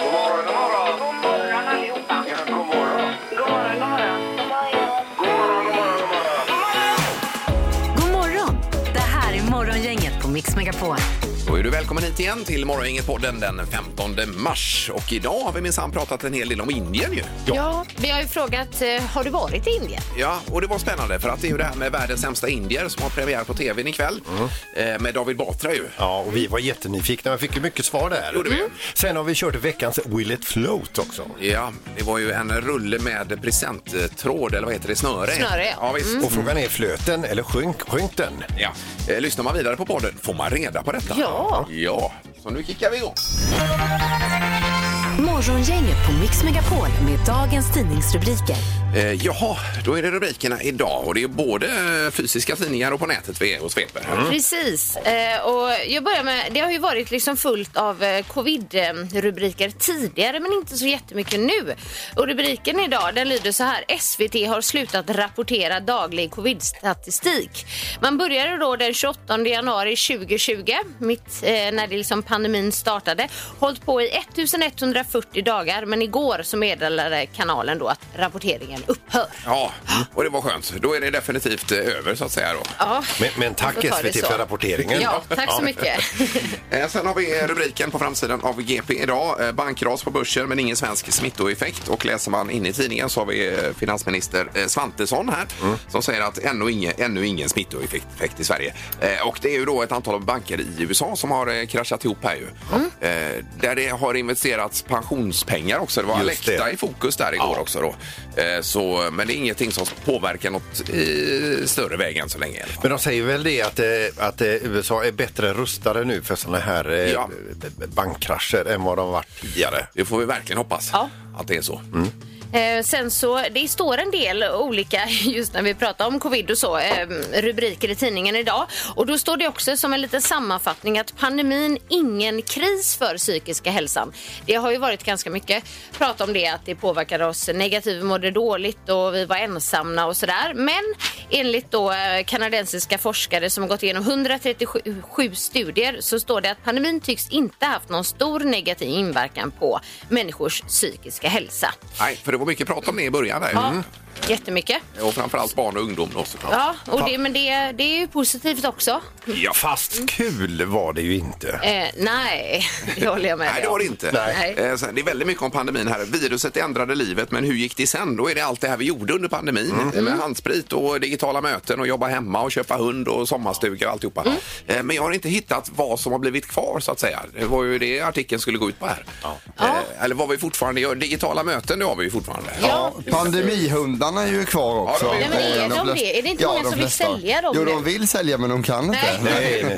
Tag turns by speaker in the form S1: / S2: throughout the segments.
S1: God morgon, god morgon.
S2: God morgon allihopa.
S1: Ja, god morgon.
S2: God morgon, god morgon.
S1: God morgon, god morgon, god morgon.
S3: God morgon! Det här är Morgongänget på Mix Megapol.
S4: Då är du välkommen hit igen till Morgongänget-podden den 15 mars. Och idag har vi minsann pratat en hel del om Indien ju.
S5: Ja, vi har ju frågat, eh, har du varit i Indien?
S4: Ja, och det var spännande för att det är ju det här med världens sämsta indier som har premiär på tvn ikväll. Eh, med David Batra ju.
S6: Mm. Ja, och vi var jättenyfikna. Vi fick ju mycket svar där. Mm.
S4: Gjorde vi.
S6: Sen har vi kört veckans Will it float också.
S4: Ja, det var ju en rulle med presenttråd, eller vad heter det, snöre?
S5: Snöre, ja.
S4: ja visst.
S6: Och frågan är flöten eller sjönk, sjönk den?
S4: Ja. Eh, Lyssnar man vidare på podden får man reda på detta.
S5: Ja.
S4: Ja, så nu kickar vi igång.
S3: Morgongänget på Mix Megapol med dagens tidningsrubriker.
S4: Eh, jaha, då är det rubrikerna idag och det är både eh, fysiska tidningar och på nätet vi är och sveper.
S5: Mm. Precis. Eh, och jag börjar med, det har ju varit liksom fullt av eh, covid-rubriker tidigare men inte så jättemycket nu. Och rubriken idag den lyder så här. SVT har slutat rapportera daglig covid-statistik. Man började då den 28 januari 2020, mitt eh, när det liksom pandemin startade. Hållit på i 1140 dagar men igår så meddelade kanalen då att rapporteringen upphör.
S4: Ja, och det var skönt. Då är det definitivt eh, över så att säga då.
S5: Ja.
S6: Men, men tack
S5: Då tar vi
S6: SVT
S5: så.
S6: för rapporteringen.
S5: Ja, tack så mycket.
S4: Eh, Sen har vi eh, rubriken på framsidan av GP idag. Eh, Bankras på börsen men ingen svensk smittoeffekt. Och läser man in i tidningen så har vi eh, finansminister eh, Svantesson här som säger att ännu ingen, ännu ingen smittoeffekt effekt i Sverige. Eh, Och det är ju då ett antal banker i USA som har eh, kraschat ihop här ju.
S6: Mm.
S4: Eh, Där det har investerats pensionspengar också. Det var
S6: Just det.
S4: Alecta i fokus där igår också då. Eh, Så, men det är ingenting som påverkar något i större väg än så länge. i alla fall.
S6: Men de säger väl det att, eh, att eh, USA är bättre rustade nu för sådana här eh,
S4: Ja.
S6: b- bankkrascher än vad de varit tidigare. Mm.
S4: Det får vi verkligen hoppas
S5: Ja.
S4: att det är så.
S5: Eh, sen så, det står en del olika just när vi pratar om covid och så, eh, rubriker i tidningen idag. Och då står det också som en liten sammanfattning att pandemin, ingen kris för psykiska hälsan. Det har ju varit ganska mycket prat om det, att det påverkade oss negativt, vi mådde dåligt och vi var ensamma och sådär. Men enligt då eh, kanadensiska forskare som har gått igenom 137 studier så står det att pandemin tycks inte haft någon stor negativ inverkan på människors psykiska hälsa.
S4: Nej, för det var mycket prat om det i början där. Mm.
S5: Ja, jättemycket.
S4: Och framförallt barn och ungdom då såklart.
S5: Ja, och det, Mm. men det, det är ju positivt också.
S4: Ja.
S6: Fast kul var det ju inte.
S5: Eh, nej, det håller jag med
S4: Nej, det
S5: om.
S4: var det inte.
S5: Nej.
S4: Eh, sen, Det är väldigt mycket om pandemin här. Viruset ändrade livet, men hur gick det sen? Då är det allt det här vi gjorde under pandemin.
S6: Mm.
S4: eh,
S5: Mm.
S4: Med handsprit och digitala möten och jobba hemma och köpa hund och sommarstuga och alltihopa.
S5: Mm.
S4: Eh, Men jag har inte hittat vad som har blivit kvar så att säga. Det var ju det artikeln skulle gå ut på här. Eh, Eller vad vi fortfarande gör. Digitala möten, det har vi ju fortfarande.
S5: Ja.
S7: Pandemihundarna är ju kvar också.
S4: Ja, de är ju
S7: Eh,
S4: kvar. Nej,
S5: men är de det? Är det inte många
S7: de
S5: som vill
S7: flesta.
S5: sälja dem
S7: Jo,
S5: nu?
S7: de vill sälja men de kan inte.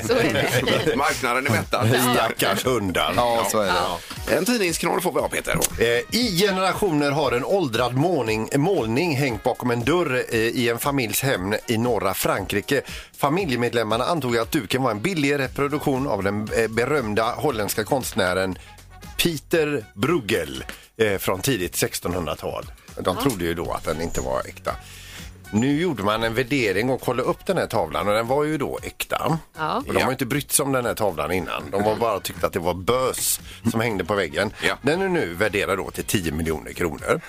S5: Så är det.
S6: Mm.
S4: Marknaden är mättad.
S6: Stackars hundar.
S7: Ja, så är det.
S4: En tidningsknorr får vi ha, Peter.
S6: Eh, I generationer har en åldrad målning, målning hängt bakom en dörr eh, i en familjs hem i norra Frankrike. Familjemedlemmarna antog att duken var en billig reproduktion av den eh, berömda holländska konstnären Pieter Bruegel eh, från tidigt 1600-tal. De trodde ju då att den inte var äkta. Nu gjorde man en värdering och kollade upp den här tavlan och den var ju då äkta.
S5: Ja.
S6: Och de har ju inte brytt sig om den här tavlan innan. De har bara tyckt att det var bös som hängde på väggen.
S4: Ja.
S6: Den är nu värderad då till 10 miljoner kronor.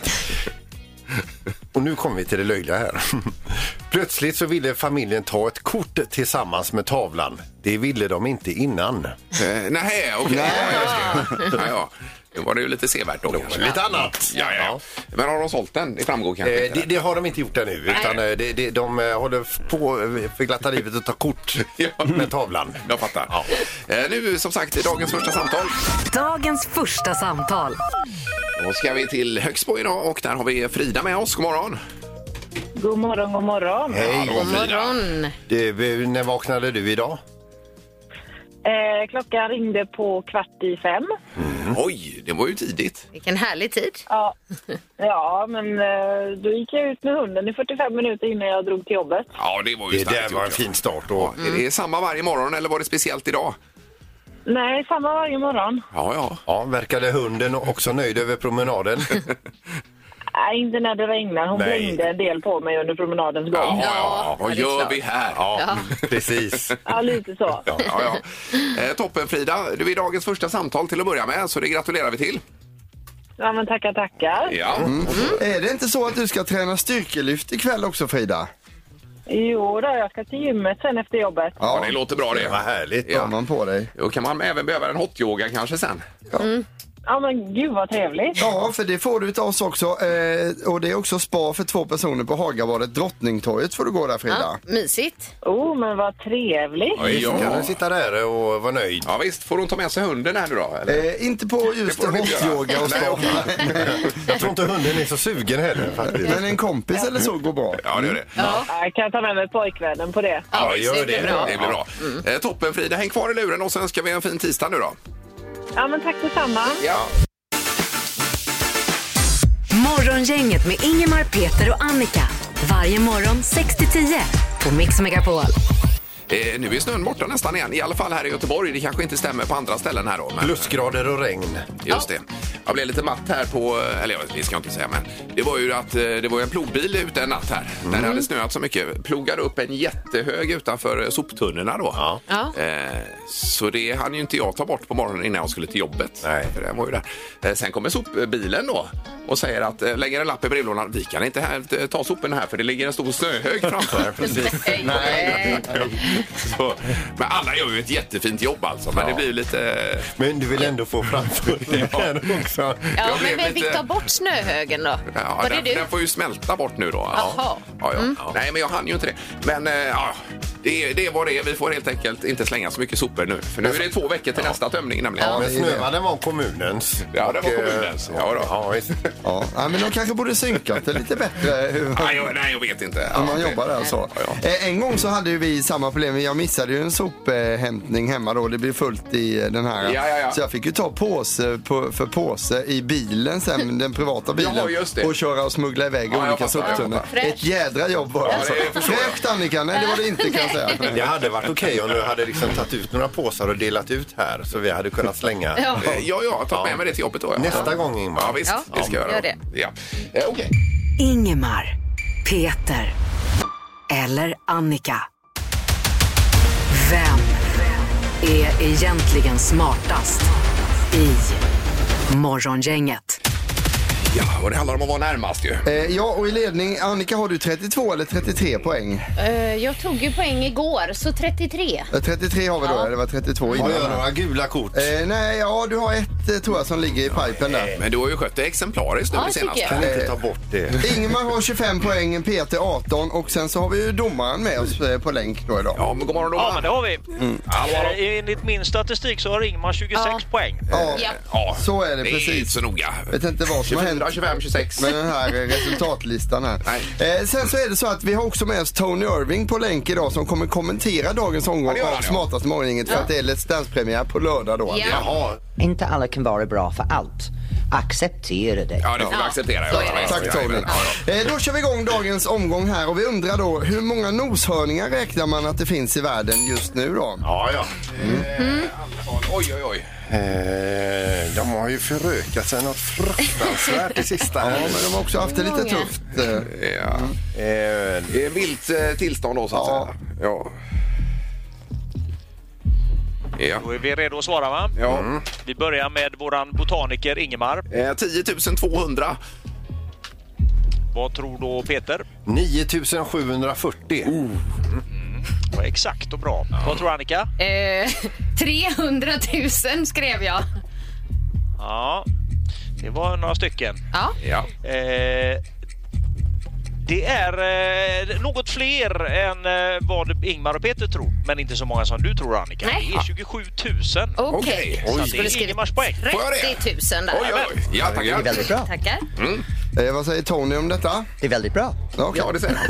S6: Och nu kommer vi till det löjliga här. Plötsligt så ville familjen ta ett kort tillsammans med tavlan. Det ville de inte innan.
S4: Eh, nej, okej. Ja, just det. ja, ja. Nu var det ju lite sevärt då. kanske.
S6: Lite annat.
S4: Ja, ja. Men har de sålt den? Det framgår kanske
S6: Eh,
S4: inte.
S6: det, det har de inte gjort ännu, utan eh, det, det, de eh, håller f- på eh, för glatta livet att ta kort
S4: Ja.
S6: med tavlan.
S4: Jag fattar.
S6: Ja.
S4: Eh, Nu som sagt, i dagens första samtal.
S3: Dagens första samtal.
S4: Då ska vi till Högsbo idag och där har vi Frida med oss. God morgon!
S2: God morgon, god morgon.
S6: Hej!
S5: God morgon.
S6: Du, eh, när vaknade du idag?
S2: Eh, klockan ringde på kvart i fem.
S4: Mm. Oj, det var ju tidigt.
S5: Vilken härlig tid.
S2: Ja, ja men eh, då gick jag ut med hunden i 45 minuter innan jag drog till jobbet.
S4: Ja, det var ju
S6: Det där
S4: starkt
S6: var en
S4: gjort,
S6: fin start. Och,
S4: ja. Är det samma varje morgon eller var det speciellt idag?
S2: Nej, samma varje morgon.
S4: Ja, ja.
S6: Ja, verkade hunden också nöjd över promenaden?
S2: Nej, inte när det regnar. Hon
S6: Nej.
S2: blängde en del på mig under promenadens gång. Ja,
S5: Ja,
S4: Vad
S5: ja, det är
S4: gör
S5: klart.
S4: vi här?
S6: Ja, precis.
S2: lite så.
S4: Ja, ja, ja. Eh, toppen Frida, du är dagens första samtal till att börja med så det gratulerar vi till.
S2: Ja, men tackar, tackar.
S4: Ja.
S5: Mm.
S7: Är det inte så att du ska träna styrkelyft ikväll också Frida?
S2: Jo då, jag ska till gymmet sen efter jobbet.
S4: Ja, det låter bra
S6: Vad
S4: det.
S6: härligt.
S7: Har man på dig?
S4: Då kan man även behöva en hotyoga kanske sen.
S5: Mm.
S2: Ja, men gud vad trevligt.
S7: Ja, för det får du utav oss också. Eh, och det är också spa för två personer på Hagabadet. Drottningtorget får du gå där Frida.
S5: Ja, mysigt.
S2: Oh, men vad trevligt.
S4: Oj,
S6: Kan
S4: ja.
S6: du sitta där och vara nöjd?
S4: ja visst, får hon ta med sig hunden här nu då? Eller?
S7: Eh, inte på just
S4: Det får du inte göra.
S7: hotyoga och
S4: Nej,
S7: spa.
S6: Jag tror inte hunden är så sugen heller faktiskt.
S7: Men en kompis eller så går bra.
S4: Ja, det gör det.
S5: Ja,
S2: Jag kan ta med mig pojkvännen på det.
S5: ja,
S6: gör
S5: så blir
S6: det.
S5: bra. Mm.
S4: Det blir bra. Eh, toppen Frida, häng kvar i luren och så önskar vi en fin tisdag nu då.
S2: Ja, men tack detsamma.
S4: Ja.
S3: Morgongänget med Ingemar, Peter och Annika. Varje morgon 6 till 10 på Mix Megapol.
S4: Eh, nu är snön borta nästan igen, i alla fall här i Göteborg. Det kanske inte stämmer på andra ställen här då. Men
S6: Plusgrader och regn.
S4: just det. Jag blev lite matt här på, eller ja, det ska jag inte säga, men det var ju att eh, det var ju en plogbil ute en natt här. När det hade snöat så mycket. Plogade upp en jättehög utanför eh, soptunnorna då.
S5: Ja.
S4: Eh, Så det hann ju inte jag ta bort på morgonen innan jag skulle till jobbet.
S6: Nej.
S4: För den var ju där. Eh, Sen kommer sopbilen då och säger att eh, lägger en lapp i brevlådan. Vi kan inte här, eh, ta soporna här för det ligger en stor snöhög framför. Precis.
S5: Nej.
S4: Så, men alla gör ju ett jättefint jobb alltså. Men det blir ju lite... eh,
S6: Men du vill ändå få framför dig här också.
S5: Ja,
S4: Jag blev
S5: men vi,
S4: lite-
S5: vi tar bort snöhögen då.
S4: Ja,
S5: Var det
S4: den,
S5: du?
S4: den får ju smälta bort nu då.
S5: Jaha. Mm.
S4: Ja, ja. Nej, men jag hann ju inte det. Men eh, ja, det, det var det. är. Vi får helt enkelt inte slänga så mycket sopor nu. För nu är det två veckor till nästa tömning nämligen.
S6: Men snövallen var kommunens.
S4: Ja, det var
S6: Och, eh,
S4: kommunens. Ja, då.
S6: Ja, visst.
S7: Ja, nej, men de kanske borde synkat det lite bättre. Hur man...
S4: Nej, jag, nej, jag vet inte.
S7: Om
S4: Ja,
S7: man
S4: det-
S7: jobbar där så.
S4: Ja, ja.
S7: Eh, En gång så hade ju vi samma problem. Jag missade ju en sophämtning hemma då. Det blev fullt i eh, den här.
S4: Ja, ja, ja.
S7: Så jag fick ju ta påse på, för påse i bilen sen, den privata bilen.
S4: Ja, just det.
S7: Och köra och smuggla iväg
S4: Ja, jag
S7: olika
S4: fattar, jag
S7: soptunnor.
S4: fattar.
S7: Ett jädra jobb var det alltså.
S4: det förstår jag.
S7: Fräscht Annika! Nej, det var det inte kan jag säga.
S6: Det hade varit okej om du hade liksom tagit ut några påsar och delat ut här så vi hade kunnat slänga.
S5: Ja.
S4: Eh, Ja, ja, ta med mig det till jobbet då. Ja.
S6: Nästa gång, Ingmar.
S4: Ja, visst.
S5: Ja,
S4: det ska jag göra.
S5: gör det.
S4: Ja. Eh, Okej.
S3: Ingemar, Peter eller Annika. Vem är egentligen smartast i Morgongänget?
S4: Ja, och det handlar om att vara närmast ju.
S7: Eh, Ja, och i ledning, Annika har du 32 eller 33 poäng?
S5: Eh, Jag tog ju poäng igår, så 33.
S7: Eh, 33 har vi då, ja. det var 32
S6: Har
S7: innan.
S6: jag några gula kort?
S7: Eh, nej, ja du har ett eh, tror jag som ligger i pipen där.
S4: Men du har ju skött det exemplariskt nu
S5: Ja,
S4: det senaste.
S5: tycker
S6: Kan inte ta bort det.
S7: Ingmar har 25 poäng, Peter 18 och sen så har vi ju domaren med oss eh, på länk då idag. Mm.
S4: Ja, men god morgon då.
S8: Ja, men det har vi.
S4: Hallå, hallå.
S8: Eh, Enligt min statistik så har Ingmar 26 poäng.
S7: Ja,
S4: Eh,
S5: Ja.
S4: Ja,
S7: så är det
S4: Det är inte
S7: precis.
S4: så noga.
S7: vet inte vad som har hänt
S4: 24, 25, 26.
S7: med den här eh, resultatlistan här.
S4: Nej.
S7: Eh, sen så är det så att vi har också med oss Tony Irving på länk idag som kommer kommentera dagens
S4: Ja,
S7: omgång
S4: det gör han,
S7: av
S4: ja.
S7: Smartaste morgoninget för att det är Let's Dance-premiär på lördag då. alltså.
S5: Ja.
S6: Jaha,
S9: Inte alla kan vara bra för allt. Acceptera det.
S4: Ja, det får vi
S5: Ja.
S4: acceptera.
S5: Så
S4: Ja,
S5: är det.
S4: ja, ja,
S7: Tack Tony.
S4: ja, ja.
S7: Eh, Då kör vi igång dagens omgång här och vi undrar då hur många noshörningar räknar man att det finns i världen just nu då?
S6: ja ja.
S5: Mm.
S4: Oj, oj, oj.
S6: Eh, de har ju förökat sig något fruktansvärt det sista.
S7: Ja,
S6: här.
S7: men de har också haft det lite tufft. eh.
S4: Ja.
S6: Eh,
S4: Det är vilt eh, tillstånd då, så att
S7: Ja.
S4: säga. Ja. Ja.
S8: Då är vi redo att svara va?
S4: ja.
S8: Vi börjar med våran botaniker Ingemar.
S4: Eh, 10 200.
S8: Vad tror då Peter?
S6: 9740.
S8: Vad exakt och bra. Vad tror Annika?
S5: Eh, 300 000 skrev jag.
S8: Ja, det var några stycken.
S5: Ja.
S4: Ja.
S8: Eh, det är eh, något fler än eh, vad Ingmar och Peter tror, men inte så många som du tror Annika.
S5: Nej.
S8: Det är 27 000.
S5: Okej.
S4: Okej. Oj.
S8: Så det är Ingemars poäng.
S5: 30
S4: Får jag det?
S5: 000 där.
S4: Oj, oj, oj. Ja, Mm. tackar.
S9: väldigt bra.
S5: Tackar.
S7: Eh, Vad säger Tony om detta?
S9: Det är väldigt bra.
S7: Ja, okej.
S4: Ja, det säger han.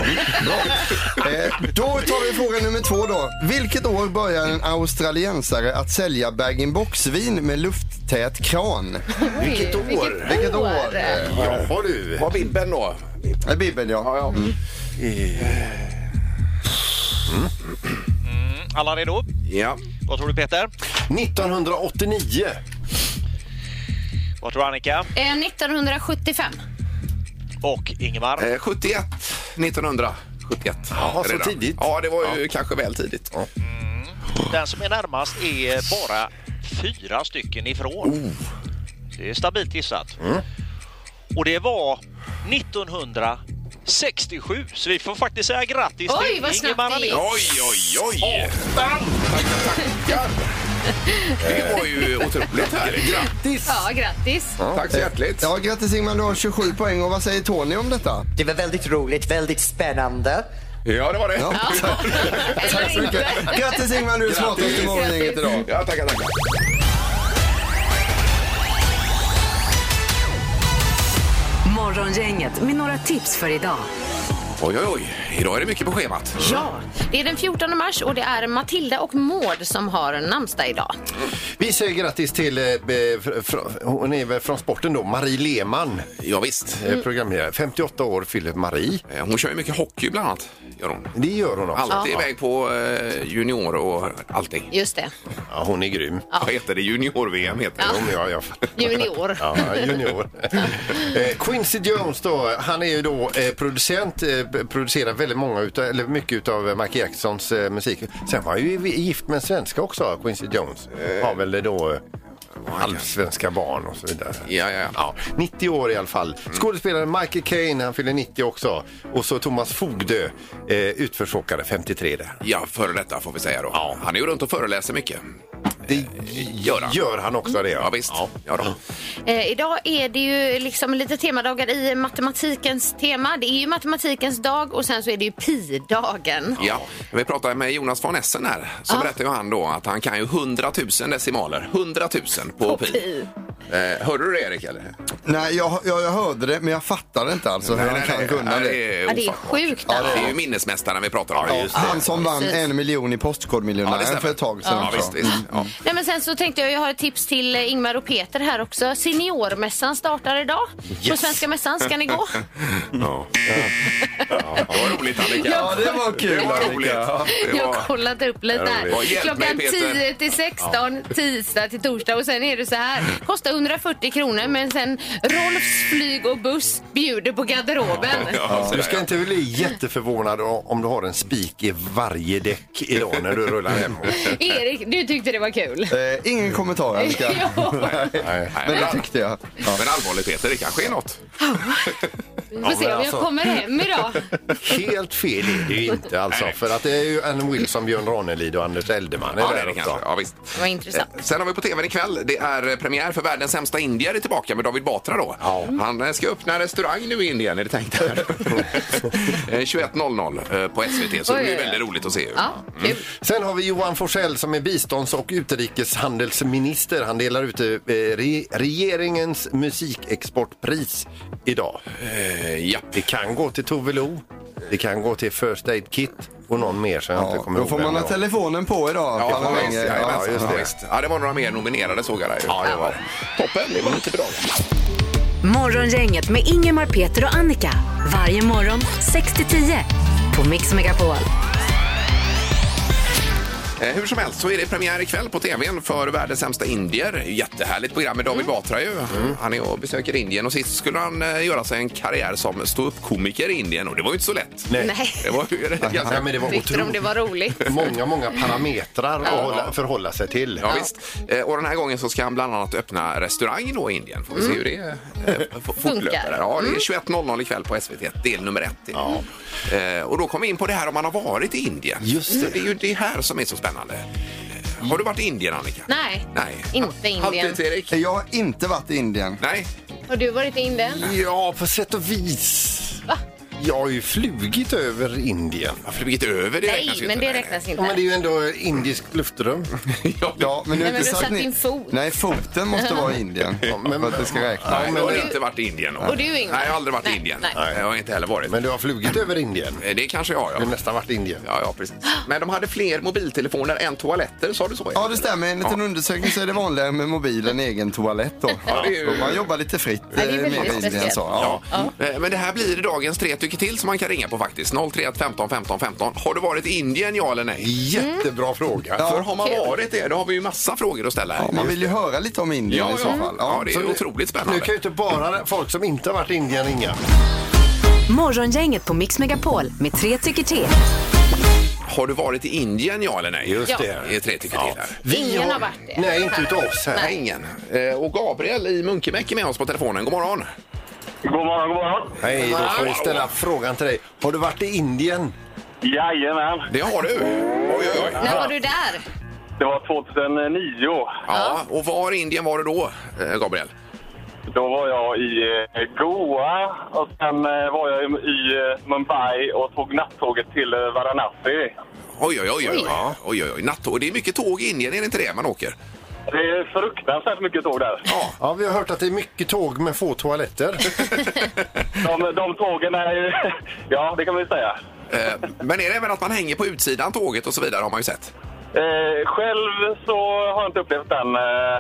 S7: Eh, Då tar vi fråga nummer två då. Vilket år börjar en australiensare att sälja bag-in-box-vin med lufttät kran?
S5: Vilket år?
S7: Vilket år? Eh,
S6: Jaha du.
S4: Var Bibben då?
S7: Det är Bibeln ja. Mm.
S4: ja.
S9: Eh.
S10: Mm.
S8: Alla redo?
S4: Ja.
S8: Vad tror du Peter?
S6: 1989.
S8: Vad tror Annika?
S5: Eh, 1975.
S8: och Ingemar.
S4: Eh, 71, 1971.
S6: Jaha, så
S4: Redan.
S6: tidigt.
S4: Ja, det var ju kanske väl tidigt.
S8: Den som är närmast är bara fyra stycken ifrån. Det är stabilt gissat. Och det var 1967, så vi får faktiskt säga grattis
S5: Oj,
S8: till
S5: vad snabbt
S8: Ingemar
S5: det
S8: Ahlén.
S5: gick.
S4: Oj, oj, oj! Tackar, tackar!
S6: Eh,
S4: Det var ju otroligt härligt.
S6: Grattis!
S5: Ja, grattis.
S4: Tack så hjärtligt.
S7: Eh, Ja, grattis Ingmar, du har 27 poäng och vad säger Tony om detta?
S9: Det var väldigt roligt, väldigt spännande.
S4: Ja, det var det.
S7: Ja.
S5: Eller inte.
S7: Grattis Ingmar, du är smartast i morgongänget idag.
S4: Ja, tackar, tackar.
S3: Morgongänget med några tips för idag.
S4: Oj, oj, oj. Idag är det mycket på schemat.
S5: Ja, det är den 14 mars och det är Matilda och Maud som har namnsdag idag.
S6: Vi säger grattis till, eh, be- fr, fr, hon är väl från sporten då, Marie Lehmann.
S4: Ja, visst.
S6: eh, Programledare. 58 år fyller Marie.
S4: Eh, Hon kör ju mycket hockey bland annat. Gör hon.
S6: Det gör hon också.
S4: Alltid iväg på eh, junior och allting.
S5: Just det.
S6: Ja, hon är grym.
S4: Vad heter det? Junior-VM heter det.
S6: Jo, men jag- jag fattar.
S5: Junior.
S6: Ja, junior. Eh, Quincy Jones då, han är ju då eh, producent, eh, producerar väldigt många utav, eller mycket av Michael Jacksons eh, musik. Sen var han ju gift med en svenska också, Quincy Jones. Har väl då eh, halvsvenska barn och så vidare.
S4: Ja, ja, ja.
S6: Ja, 90 år i alla fall. Skådespelaren Michael Caine, han fyller 90 också. Och så Thomas Fogdö, eh, utförsåkare, 53 där.
S4: Ja, före detta får vi säga då. Han är ju runt och föreläser mycket. Eh,
S6: Det
S4: gör han.
S6: Gör han också det?
S4: Ja, visst. Ja, då.
S5: Eh, idag är det ju liksom lite temadagar i matematikens tema. Det är ju matematikens dag och sen så är det ju pi-dagen.
S4: Ja, Ah. vi pratade med Jonas von Essen här. Så berättade ju han då att han kan ju 100 000 decimaler. 100 000 på,
S5: På
S4: pi.
S5: pi.
S4: Eh, hörde du det Erik? Eller?
S7: Nej, jag, jag, jag hörde det, men jag fattade inte alltså hur han kan kunna det.
S4: är
S5: Ja, det är
S4: ofattbart.
S5: sjukt
S4: Ja, det är
S5: alltså.
S4: ju minnesmästaren vi pratar om. Ja,
S7: Han som vann
S5: Precis.
S7: en miljon i Postkodmiljonären
S4: stämmer.
S7: för ett tag sedan.
S4: Ja,
S7: också. Mm.
S4: visst, visst. Ja.
S5: Nej, men sen så tänkte jag, jag har ett tips till eh, Ingmar och Peter här också. Seniormässan startar idag. På Svenska Mässan ska ni gå.
S4: Ja. Ja, det var roligt Annika.
S7: Ja, det var kul.
S4: Det var
S7: Annika.
S4: roligt. Det
S5: Jag har
S4: var...
S5: kollat upp lite
S4: Ja, hjälp
S5: här. Klockan
S4: mig, Peter.
S5: 10 till 16, tisdag till torsdag och sen är det så här. Kostar 140 kronor men sen Rolfs flyg och buss bjuder på garderoben.
S4: Ja, så
S6: Du
S4: där,
S6: ska
S4: ja.
S6: inte bli jätteförvånad o- om du har en spik i varje däck idag när du rullar hemåt.
S5: Erik, du tyckte det var kul.
S7: Eh, ingen kommentar Annika.
S4: Nej,
S7: Men
S4: men,
S7: det tyckte jag. Ja.
S4: men allvarligt Peter, det kanske är något. alltså,
S5: Vi får se om
S6: alltså-
S5: jag kommer hem idag.
S6: Helt fel är det ju inte alltså.
S4: Nej.
S6: För att det är ju Ann Wilson, Björn Ranelid och Anders Eldeman. är
S4: Ja, det
S6: där
S4: är det
S6: också.
S4: kanske. Ja, visst.
S5: Det var intressant.
S4: Eh, Sen har vi på tvn ikväll, det är eh, premiär för världens sämsta indier är tillbaka med David Batra då. Han eh, ska öppna en restaurang nu i Indien är det tänkt här. Eh, 21.00 eh, på SVT så det
S5: Oj,
S4: blir
S5: oj, oj.
S4: väldigt roligt att se. Mm. ju.
S5: Ja, kul.
S6: Sen har vi Johan Forsell som är bistånds och utrikeshandelsminister. Han delar ut eh, re regeringens musikexportpris idag.
S4: Eh, Ja.
S6: Det kan gå till Tove Lo, det kan gå till First Aid Kit och någon mer som jag inte
S7: Ja,
S6: kommer
S7: då får
S6: vem
S7: man ha
S6: det var.
S7: telefonen på idag.
S4: Ja,
S7: Alla
S4: visst,
S7: ringer.
S4: ja,
S7: Ja,
S4: ja,
S7: just det.
S4: visst. ja, det var några mer nominerade såg jag där. ju.
S6: Ja, det var det.
S4: Toppen, det var lite bra.
S3: Morgongänget med Ingemar, Peter och Annika. Varje morgon 6 till 10 på Mix Megapol.
S4: Eh, Hur som helst så är det premiär ikväll på tvn för världens sämsta indier. Jättehärligt program med
S6: Mm.
S4: David Batra ju. Han är och besöker Indien och sist skulle han eh, göra sig en karriär som ståuppkomiker i Indien och det var ju inte så lätt.
S5: Nej.
S4: Det var ju
S6: Ja,
S4: ganska...
S6: men det var
S5: Tyckte de det
S6: otroligt.
S5: var roligt?
S6: Många, många parametrar att hålla, förhålla sig till.
S4: Ja, visst. Eh, Och den här gången så ska han bland annat öppna restaurang då i Indien. Får vi
S6: Mm.
S4: se hur det eh, f- fortlöper. Ja, det är 21.00 ikväll på SVT, del nummer ett. Eh, Och då kommer vi in på det här om man har varit i Indien.
S6: Just det.
S4: För det är ju det här som är så spännande. Eh, Har du varit i Indien, Annika?
S5: Nej,
S4: Nej.
S5: inte Indien.
S4: Halvtids, Erik?
S7: Eh, Jag har inte varit i Indien.
S4: Nej.
S5: Har du varit i Indien?
S6: Ja, på sätt och vis. Jag har ju flugit över Indien.
S4: Jag har flugit över det. räknas
S5: Nej,
S4: ju
S5: men
S4: inte.
S5: det
S4: Nej,
S5: räknas
S6: Ja, men
S5: inte.
S6: det är ju ändå indiskt luftrum.
S4: nej. Ja,
S7: Ja, men du har
S5: Nej, men
S7: inte
S5: du
S7: sagt
S5: satte
S7: ni-
S5: in fot.
S7: Nej, foten måste vara i Indien.
S6: men-
S7: För att det ska räkna.
S4: Nej, jag har
S5: du-
S4: inte varit i Indien. då.
S5: Och du, Ingmar?
S4: Nej, jag har aldrig varit i
S5: Nej,
S4: Indien.
S5: nej.
S4: Jag har inte heller varit.
S6: Men du har flugit över Indien.
S4: Eh, Det kanske jag har,
S6: Du har
S4: ja.
S6: nästan varit i Indien.
S4: Ja, ja, precis. Men de hade fler mobiltelefoner än toaletter, sa du så? Erik?
S7: Ja, det stämmer. Enligt en undersökning så är det vanligare med mobilen i egen toalett då.
S4: Ja, det är ju-
S7: Och man jobbar lite fritt
S5: det är
S7: eh,
S5: väldigt
S7: mer i Indien
S5: speciellt.
S7: så. Ja.
S4: Mm. Ja. Eh, Men det här blir dagens tre tycker tycker till som man kan ringa på faktiskt. 031 15 15 15. Har du varit i Indien, ja eller nej?
S6: Jättebra fråga.
S4: Mm. För har man varit det, då har vi ju massa frågor att ställa. här.
S7: Ja, man vill ju höra lite om Indien
S4: ja,
S7: i så fall.
S4: Ja, det är
S6: Så nu-
S4: otroligt spännande.
S6: Nu kan ju inte bara folk som inte har varit i Indien ringa.
S3: Morgongänget på Mix Megapol med tre tycker till.
S4: Har du varit i Indien, ja eller nej?
S6: Just
S5: Ja.
S6: det.
S4: Det är tre tycker till här.
S5: Ingen har varit det.
S6: Nej, inte utav oss här.
S4: Nej, ingen. Eh, Och Gabriel i Munkemäck är med oss på telefonen. God morgon!
S1: God morgon, god morgon.
S6: Nej, då får vi ställa frågan till dig. Har du varit i Indien?
S1: Jajamän.
S4: Det har du! Oj, oj, oj.
S5: När var du där?
S1: Det var 2009.
S4: Ja, och var i Indien var du då, eh, Gabriel?
S1: Då var jag i eh, Goa och sen eh, var jag i- i eh, Mumbai och tog nattåget till eh, Varanasi.
S4: Oj, oj, oj. oj. Ja, oj, oj, oj. Nattåg. Det är mycket tåg i Indien, är det inte det man åker?
S1: Det är fruktansvärt mycket tåg där.
S4: Ja.
S6: Ja, vi har hört att det är mycket tåg med få toaletter.
S1: De, de tågen är ju... Ja, det kan man ju säga.
S4: Eh, Men är det även att man hänger på utsidan tåget och så vidare har man ju sett?
S1: Eh, själv så har jag inte upplevt den, eh,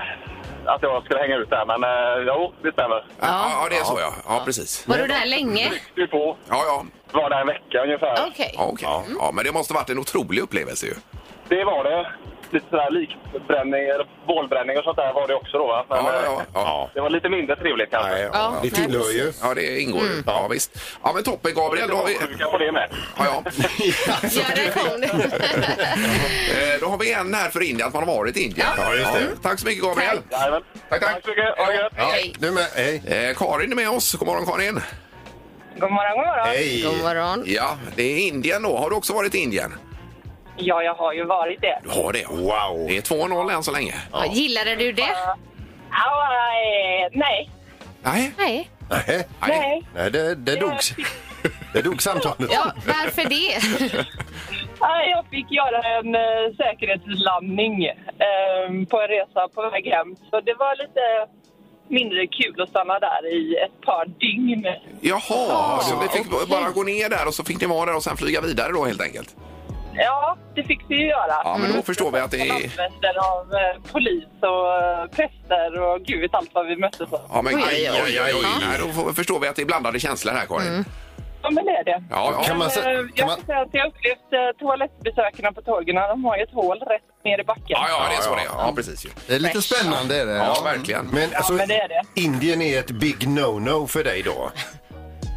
S1: att jag skulle hänga ut där, men eh, jo, det stämmer.
S4: Ja, ja det är så ja. Ja, precis.
S5: Var du där länge?
S1: Du på,
S4: Ja, ja.
S1: var där en vecka ungefär.
S5: Okej.
S4: Ja, okej. ja, men det måste varit en otrolig upplevelse ju.
S1: Det var det. Lite sådär likbränning, eller bålbränning och sånt där var det också då. va? Men,
S4: Ja, ja,
S1: eh,
S4: ja. ja.
S1: Det var lite mindre trevligt kanske.
S6: Nej, ja, det
S5: nej,
S6: tillhör ju.
S4: ja det ingår ju. Ja, visst. Ja, men toppen Gabriel. Då har vi,
S1: Sjuka på det med.
S4: ja, ja.
S5: Ja, där kom det.
S4: Eh, då har vi en här för Indien, att man har varit i Indien.
S6: Ja, just det.
S4: Tack så mycket Gabriel.
S1: Jajamän.
S4: Tack, tack.
S1: Tack så mycket. Ha det gött.
S6: Ja,
S5: Hej.
S6: du med. Hej.
S4: Eh, Karin är med oss. God morgon Karin.
S2: God morgon, god morgon.
S5: God morgon.
S4: Ja, det är Indien då. Har du också varit i Indien?
S2: Ja, jag har ju varit det.
S4: Du har det?
S6: Wow.
S4: Det är 2-0 än så länge.
S5: Ja, gillade du det?
S2: Ja, eh, nej.
S4: Nej.
S5: Nej.
S6: Nej,
S2: Nej.
S6: nej det, det dog. Det dog samtalet.
S5: Ja, varför det?
S2: Ja, Jag fick göra en eh, säkerhetslandning eh, på en resa på väg hem. Så det var lite mindre kul att stanna där i ett par dygn.
S4: Jaha, så vi fick bara gå ner där och så fick ni vara där och sen flyga vidare då helt enkelt?
S2: Ja, det fick vi ju göra.
S4: Ja, men då förstår vi att det är...
S2: Landsmästare av eh, polis och eh, präster och gud vet allt vad vi möttes av.
S4: Ja, men
S5: Oj, oj, oj, oj. Mm.
S4: Nej, då får- förstår vi att det är blandade känslor här, Karin.
S2: Ja, men det är det.
S4: Ja, ja.
S6: Kan man,
S2: Eh,
S6: sä- kan
S2: Jag
S6: man,
S2: kan säga att jag har upplevt eh, toalettbesökarna på tågen. De har ju ett hål rätt ner i backen.
S4: Ja, ja, det är så det är. Ja, precis ju.
S7: Det är lite spännande är det.
S4: Ja, verkligen.
S6: men alltså,
S2: men det är det.
S6: Indien är ett big no-no för dig då?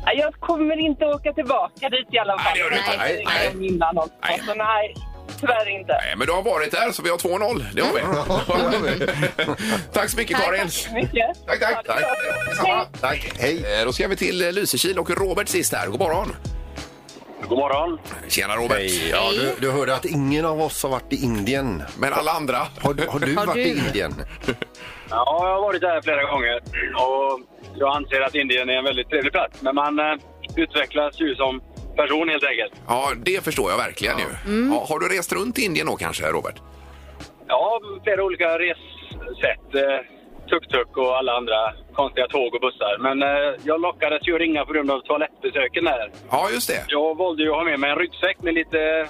S2: Nej, Jag kommer inte åka tillbaka dit i alla fall.
S4: Nej, det gör du
S5: inte.
S4: Nej,
S2: Det är innan också.
S4: Nej.
S2: Så nej, tyvärr inte.
S4: Nej, men du har varit där, så vi har 2-0. Det har vi.
S5: Mm.
S4: tack så mycket, Karin.
S2: Mycket.
S4: Tack, tack. tack. Detsamma. tack. Hej. Eh, Då ska vi till eh, Lysekil och Robert sist här. God morgon.
S1: God morgon.
S4: Tjena, Robert.
S6: Hej. Ja, du, du hörde att ingen av oss har varit i Indien.
S4: Men alla andra?
S6: Har, du- har du
S5: Har
S6: varit
S5: du?
S6: i Indien?
S1: Ja, jag har varit där flera gånger och jag anser att Indien är en väldigt trevlig plats. Men man eh, utvecklas ju som person helt enkelt.
S4: Ja, det förstår jag verkligen ju.
S5: Mm.
S4: Ja, har du rest runt i Indien då kanske, Robert?
S1: Ja, flera olika ressätt. eh, Tuk-tuk och alla andra konstiga tåg och bussar. Men eh, jag lockades ju att ringa på grund av toalettbesöken där.
S4: Ja, just det.
S1: Jag valde ju att ha med mig en ryggsäck med lite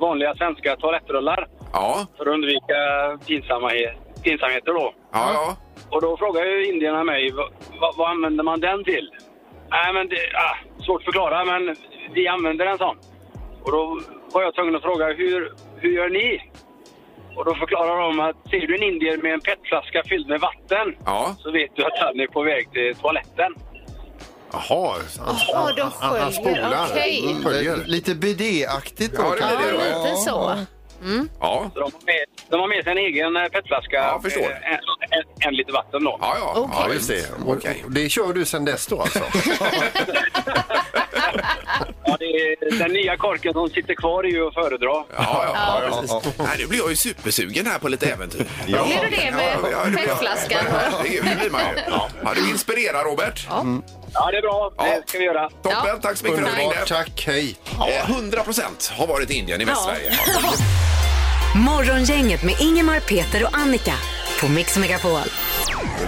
S1: vanliga svenska toalettrullar
S4: Ja,
S1: för att undvika pinsamma, pinsamheter då.
S4: ja, ja.
S1: Och då frågar ju indierna mig, "Va- va- vad använder man den till? Nej men det, ah, svårt att förklara men vi använder en sån. Och då var jag tvungen att fråga, hur, hur gör ni? Och då förklarar de att ser du en indier med en petflaska fylld med vatten
S4: Ja.
S1: så vet du att han är på väg till toaletten.
S6: Jaha, han,
S5: Åh, de
S6: han, han
S5: sköljer.
S6: spolar.
S5: Okej.
S6: Han
S7: Det är
S6: Följer.
S7: Lite bidé-aktigt då.
S4: Ja, det
S5: Ja,
S7: kanske.
S4: blir det.
S5: lite så. Mm.
S4: Ja,
S1: Så de, har med, de har med sig en egen eh, petflaska
S4: Ja, förstår.
S1: med en, en, en liter vatten då.
S4: ja. ja.
S5: Okej.
S4: ja
S6: Ja, just det. Och-
S4: Okej.
S6: och Det kör du sen dess då alltså?
S1: Ja, det är, den nya korken som sitter kvar är ju att föredra.
S4: Ja, ja, ja,
S7: Ja,
S4: precis.
S7: ja, ja.
S4: Nej, nu blir jag ju supersugen här på lite äventyr.
S5: Är du det med
S4: Ja, ja, det blir jag.
S5: petflaskan?
S4: Herregud, det blir man ju. Ja, du inspirerar, Robert.
S1: Mm. Ja, det är bra.
S4: Ja.
S1: Det ska vi göra.
S4: Toppen, tack så mycket för att du
S6: Underbart,
S4: ringde.
S6: tack, hej.
S4: Eh, 100 procent har varit i Indien i Västsverige.
S3: Morgongänget med Ingemar, Peter och Annika på Mix Megapol.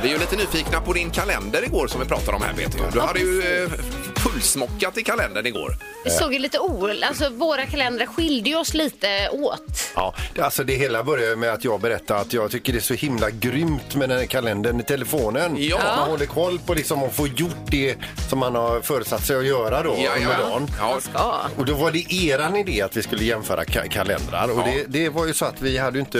S4: Vi är ju lite nyfikna på din kalender igår som vi pratade om här, Peter. Du hade ju eh, pulsmockat i kalendern igår.
S5: Vi såg ju lite o... Alltså våra kalendrar skilde ju oss lite åt.
S6: Ja, det- alltså det hela börjar med att jag berättar att jag tycker det är så himla grymt med den här kalendern i telefonen.
S4: Ja.
S6: Att man håller koll på liksom och får gjort det som man har förutsatt sig att göra då
S4: Ja,
S6: under
S4: ja.
S6: dagen.
S4: Ja,
S5: Ja.
S6: Och då var det eran idé att vi skulle jämföra ka- kalendrar och
S4: Eh, Ja.
S6: det, det var ju så att vi hade ju inte,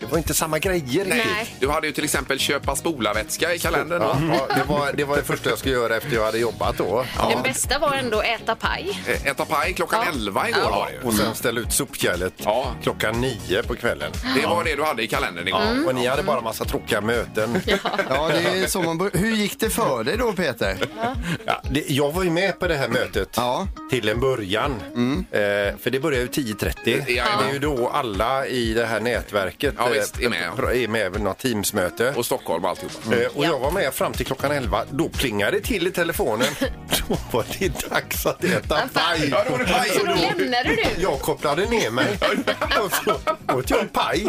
S6: det var inte samma grejer riktigt.
S5: Nej.
S4: Du hade ju till exempel köpa spolarvätska i kalendern.
S6: Ja, ja, det, var, det var det första jag skulle göra efter jag hade jobbat då.
S5: Den bästa var ändå äta paj.
S4: Eh, Äta paj klockan
S5: Ja.
S4: 11 igår var det ju.
S6: Och sen ställa ut sopkärlet
S4: Ja.
S6: klockan nio på kvällen.
S4: Det var det du hade i kalendern igår.
S6: Och ni hade bara massa tråkiga möten.
S7: Ja, det är så man bör- Hur gick det för dig då Peter?
S6: Ja, det, jag var ju med på det här mötet
S7: Ja. Mm.
S6: till en början. Eh, för det börjar ju 10.30.
S4: Ja,
S6: Det är ju då alla i det här nätverket
S4: Ja, visst,
S6: eh,
S4: är med.
S6: pr- är med vid något Teamsmöte.
S4: Och Stockholm och alltihopa.
S6: Eh, Och jag var med fram till klockan 11. Då plingade det till i telefonen. då var det dags att äta paj.
S4: Ja, då var det paj.
S5: Så då lämnade du.
S6: Jag kopplade ner mig och så åt jag en paj.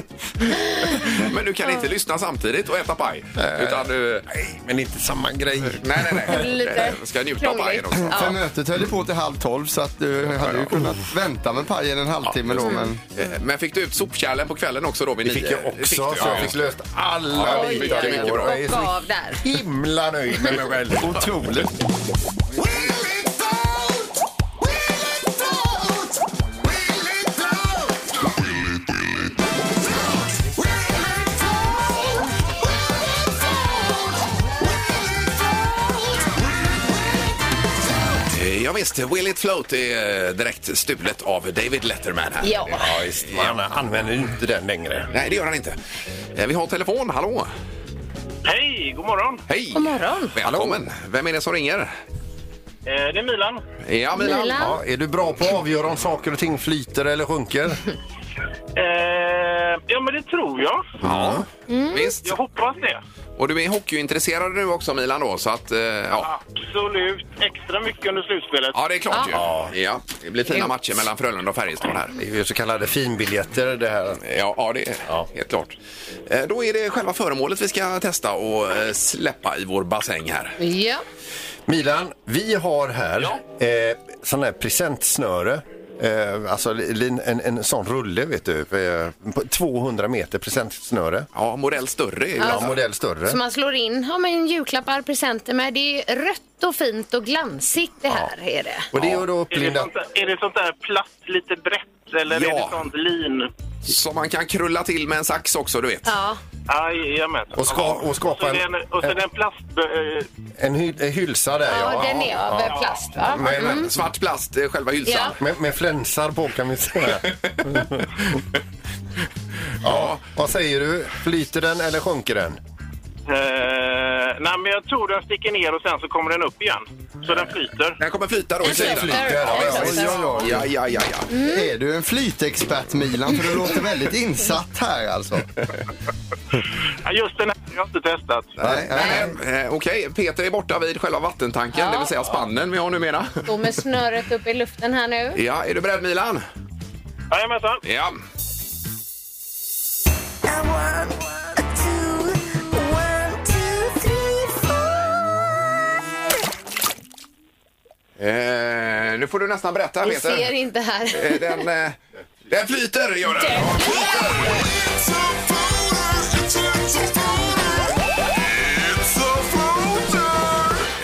S4: Men du kan inte lyssna samtidigt och äta paj. Utan du...
S6: eh, Nej, men inte samma grej.
S4: Nej, nej, nej.
S5: Lite
S4: Eh, Ska njuta av pajen också.
S5: Ja.
S7: För mötet höll ju på till halv tolv så att du hade ju kunnat vänta med pajen en halvtimme då men...
S4: Eh, Men fick du ut sopkärlen på kvällen också då vid
S6: Det fick jag också,
S4: Fick du,
S6: så jag
S4: ja.
S6: fick löst alla
S4: Oj,
S6: bitar
S4: oj, oj.
S6: mycket bra. Jag är
S5: Hoppa
S6: så
S5: av där.
S6: himla nöjd med mig själv. Otroligt.
S4: Eh, Ja, visst, Will It Float är eh, direkt stulet av David Letterman här.
S5: Ja.
S6: Ja, visst. Man använder ju inte den längre.
S4: Nej, det gör han inte. Eh, Vi har telefon, hallå!
S11: Hej, god morgon.
S4: Hej!
S5: God morgon.
S4: Välkommen! Vem är det som ringer?
S11: Eh, det är Milan.
S4: Ja,
S5: Milan.
S6: Ja, är du bra på att avgöra om saker och ting flyter eller sjunker?
S11: Eh, ja, men det tror jag.
S4: Ja, visst.
S11: Jag hoppas det.
S4: Och du är hockeyintresserad nu också, Milan, då, så att... eh, Ja,
S11: Absolut. Extra mycket under slutspelet.
S4: ja det är klart
S6: Ja.
S4: ju. Ja, det blir fina matcher mellan Frölunda och Färjestad här.
S6: Det är ju så kallade finbiljetter det här.
S4: Ja, ja det är
S6: Ja.
S4: helt klart. Eh, Då är det själva föremålet vi ska testa och eh, släppa i vår bassäng här.
S5: Ja.
S6: Milan, vi har här eh, sån här presentsnöre. Eh, alltså li- en, en sån rulle, vet du. Eh, på 200 meter presentsnöre.
S4: Ja, modell större är ju alltså-
S6: Ja,
S4: detta.
S6: modell större.
S5: Alltså, Så man slår in ja, men julklappar, presenter med. Det är rött och fint och glansigt det här är det.
S6: Och det är ju då
S11: är, det
S6: upplindat.
S11: sånt där, är det sånt där platt, lite eh, brett eller
S4: Ja.
S11: är det sånt lin?
S4: Som man kan krulla till med en sax också, du vet.
S5: Ja.
S11: Jajamän.
S6: Och, ska, och
S11: Och så
S6: skapa
S11: är det
S6: en,
S11: en, och så är det en plast... eh,
S6: en, hy, en hylsa där.
S5: Ja, den är av
S6: ja.
S5: plast va? Mm.
S4: Men, men, svart plast, eh, själva hylsan.
S5: Ja.
S6: Med, med flänsar på kan vi säga. ja, vad säger du? Flyter den eller sjunker den?
S11: Eh, nej, men jag tror den sticker ner och sen så kommer den upp igen. Så den flyter.
S4: Den kommer flyta då i
S5: Den
S4: sidan.
S5: flyter.
S6: Ja, ja,
S7: Oj, oj, oj.
S4: Ja, ja, ja, ja.
S5: Mm.
S7: Är du en flytexpert Milan? För du låter väldigt insatt här alltså.
S11: Ja, Just den här har jag inte testat.
S7: Nej, nej.
S4: Eh, Okej, Peter är borta vid själva vattentanken, det vill säga spannen vi har numera.
S5: Står med snöret upp i luften här nu.
S4: Ja, är du beredd Milan?
S11: Jajamensan.
S4: Ja. Eh, nu får du nästan berätta
S5: Vi
S4: Peter.
S5: ser inte här.
S4: Eh, Den, eh, den flyter gör den. Ja,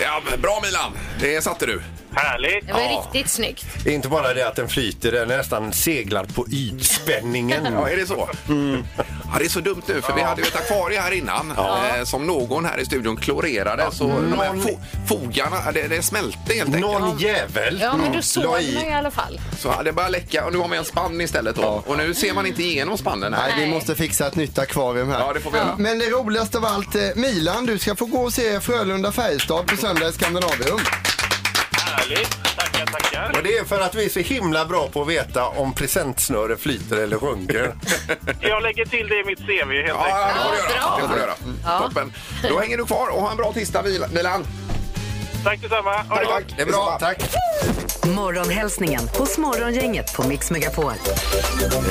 S4: Ja, men bra Milan, det satte du.
S11: Härligt.
S5: Det var riktigt snyggt.
S6: Det är inte bara det att den flyter, den nästan seglar på ytspänningen. Mm.
S4: Ja, är det så? Ja, det är så dumt nu, för vi hade ju ett akvarie här innan eh, som någon här i studion klorerade. Så de här fo fogarna, eh, det, det smälte helt enkelt.
S6: Någon jävel
S5: Ja, men du såg
S6: la
S5: den
S6: i.
S5: i alla fall.
S4: Så ja, det började läcka och nu har vi en spann istället. Då. Och nu ser man inte igenom spannen här.
S7: Nej, vi måste fixa ett nytt akvarium här.
S4: Ja, det får vi göra.
S7: Men det roligaste av allt, eh, Milan, du ska få gå och se Frölunda-Färjestad på söndag i Skandinavium.
S11: Härligt. Tackar, tackar.
S6: Och det är för att vi är så himla bra på att veta om presentsnöre flyter eller sjunker.
S11: Jag lägger till det i mitt CV helt
S4: Ja,
S11: enkelt.
S4: ja, det får du göra. Det
S5: Ja, bra.
S4: får du göra. Mm, Toppen. Då hänger du kvar och ha en bra tisdag, Mil- Milan.
S11: Tack detsamma. Ha det gott.
S4: Det är bra. Tack.
S3: Morgonhälsningen hos Morgongänget på Mix Megapol.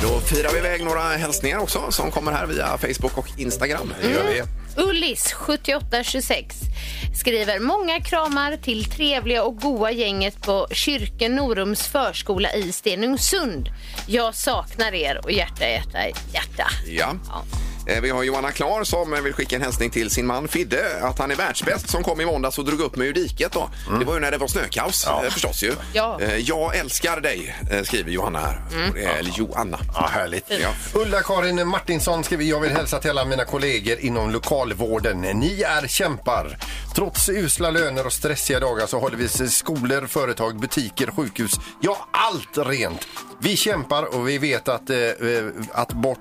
S4: Då firar vi iväg några hälsningar också som kommer här via Facebook och Instagram. Det gör vi.
S5: Ullis 7826. skriver många kramar till trevliga och goa gänget på Kyrken Norums förskola i Stenungsund. Jag saknar er och hjärta, hjärta, hjärta.
S4: Ja. Eh, Vi har Johanna Klar som eh, vill skicka en hälsning till sin man Fidde att han är världsbäst som kom i måndags och drog upp mig ur diket. Då.
S6: Mm.
S4: Det var ju när det var snökaos eh, förstås. ju.
S5: Ja.
S4: Eh, Jag älskar dig, eh, skriver Johanna här. Och det är- Eller Joanna.
S6: Mm. Ja, härligt.
S4: Ja.
S6: Ulla-Karin Martinsson skriver jag vill hälsa till alla mina kollegor inom lokalvården. Ni är kämpar. Trots usla löner och stressiga dagar så håller vi skolor, företag, butiker, sjukhus, ja allt rent. Vi kämpar och vi vet att, eh, eh, att bort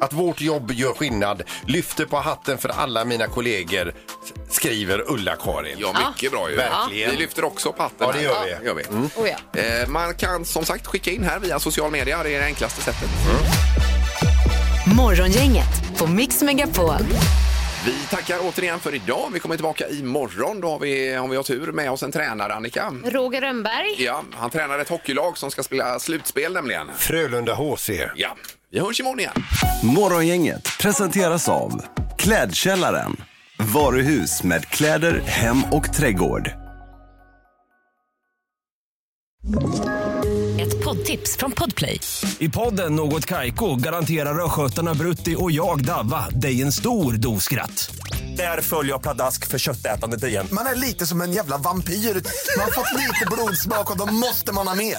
S6: att vårt jobb gör skillnad. Lyfter på hatten för alla mina kollegor, s- skriver Ulla-Karin.
S4: Ja, mycket bra ju.
S6: Verkligen.
S4: Vi lyfter också upp hatten.
S6: Ja, det gör
S4: här.
S6: vi. Mm.
S4: Ja, gör vi.
S5: Oh, ja.
S4: Eh, Man kan som sagt skicka in här via social media. Det är det enklaste sättet.
S6: Mm.
S3: Morgongänget på Mix Megapol.
S4: Vi tackar återigen för idag. Vi kommer tillbaka imorgon. Då har vi, om vi har tur, med oss en tränare, Annika.
S5: Roger Rönnberg.
S4: Ja, han tränar ett hockeylag som ska spela slutspel nämligen.
S6: Frölunda HC.
S4: Ja, vi hörs imorgon igen.
S10: Morgongänget presenteras av Klädkällaren. Varuhus med kläder, hem och trädgård.
S12: Ett poddtips från Podplay.
S13: I podden Något Kaiko garanterar östgötarna Brutti och jag, Davva, dig en stor dos skratt. Där följer jag pladask för köttätandet igen.
S14: Man är lite som en jävla vampyr. Man har fått lite blodsmak och då måste man ha mer.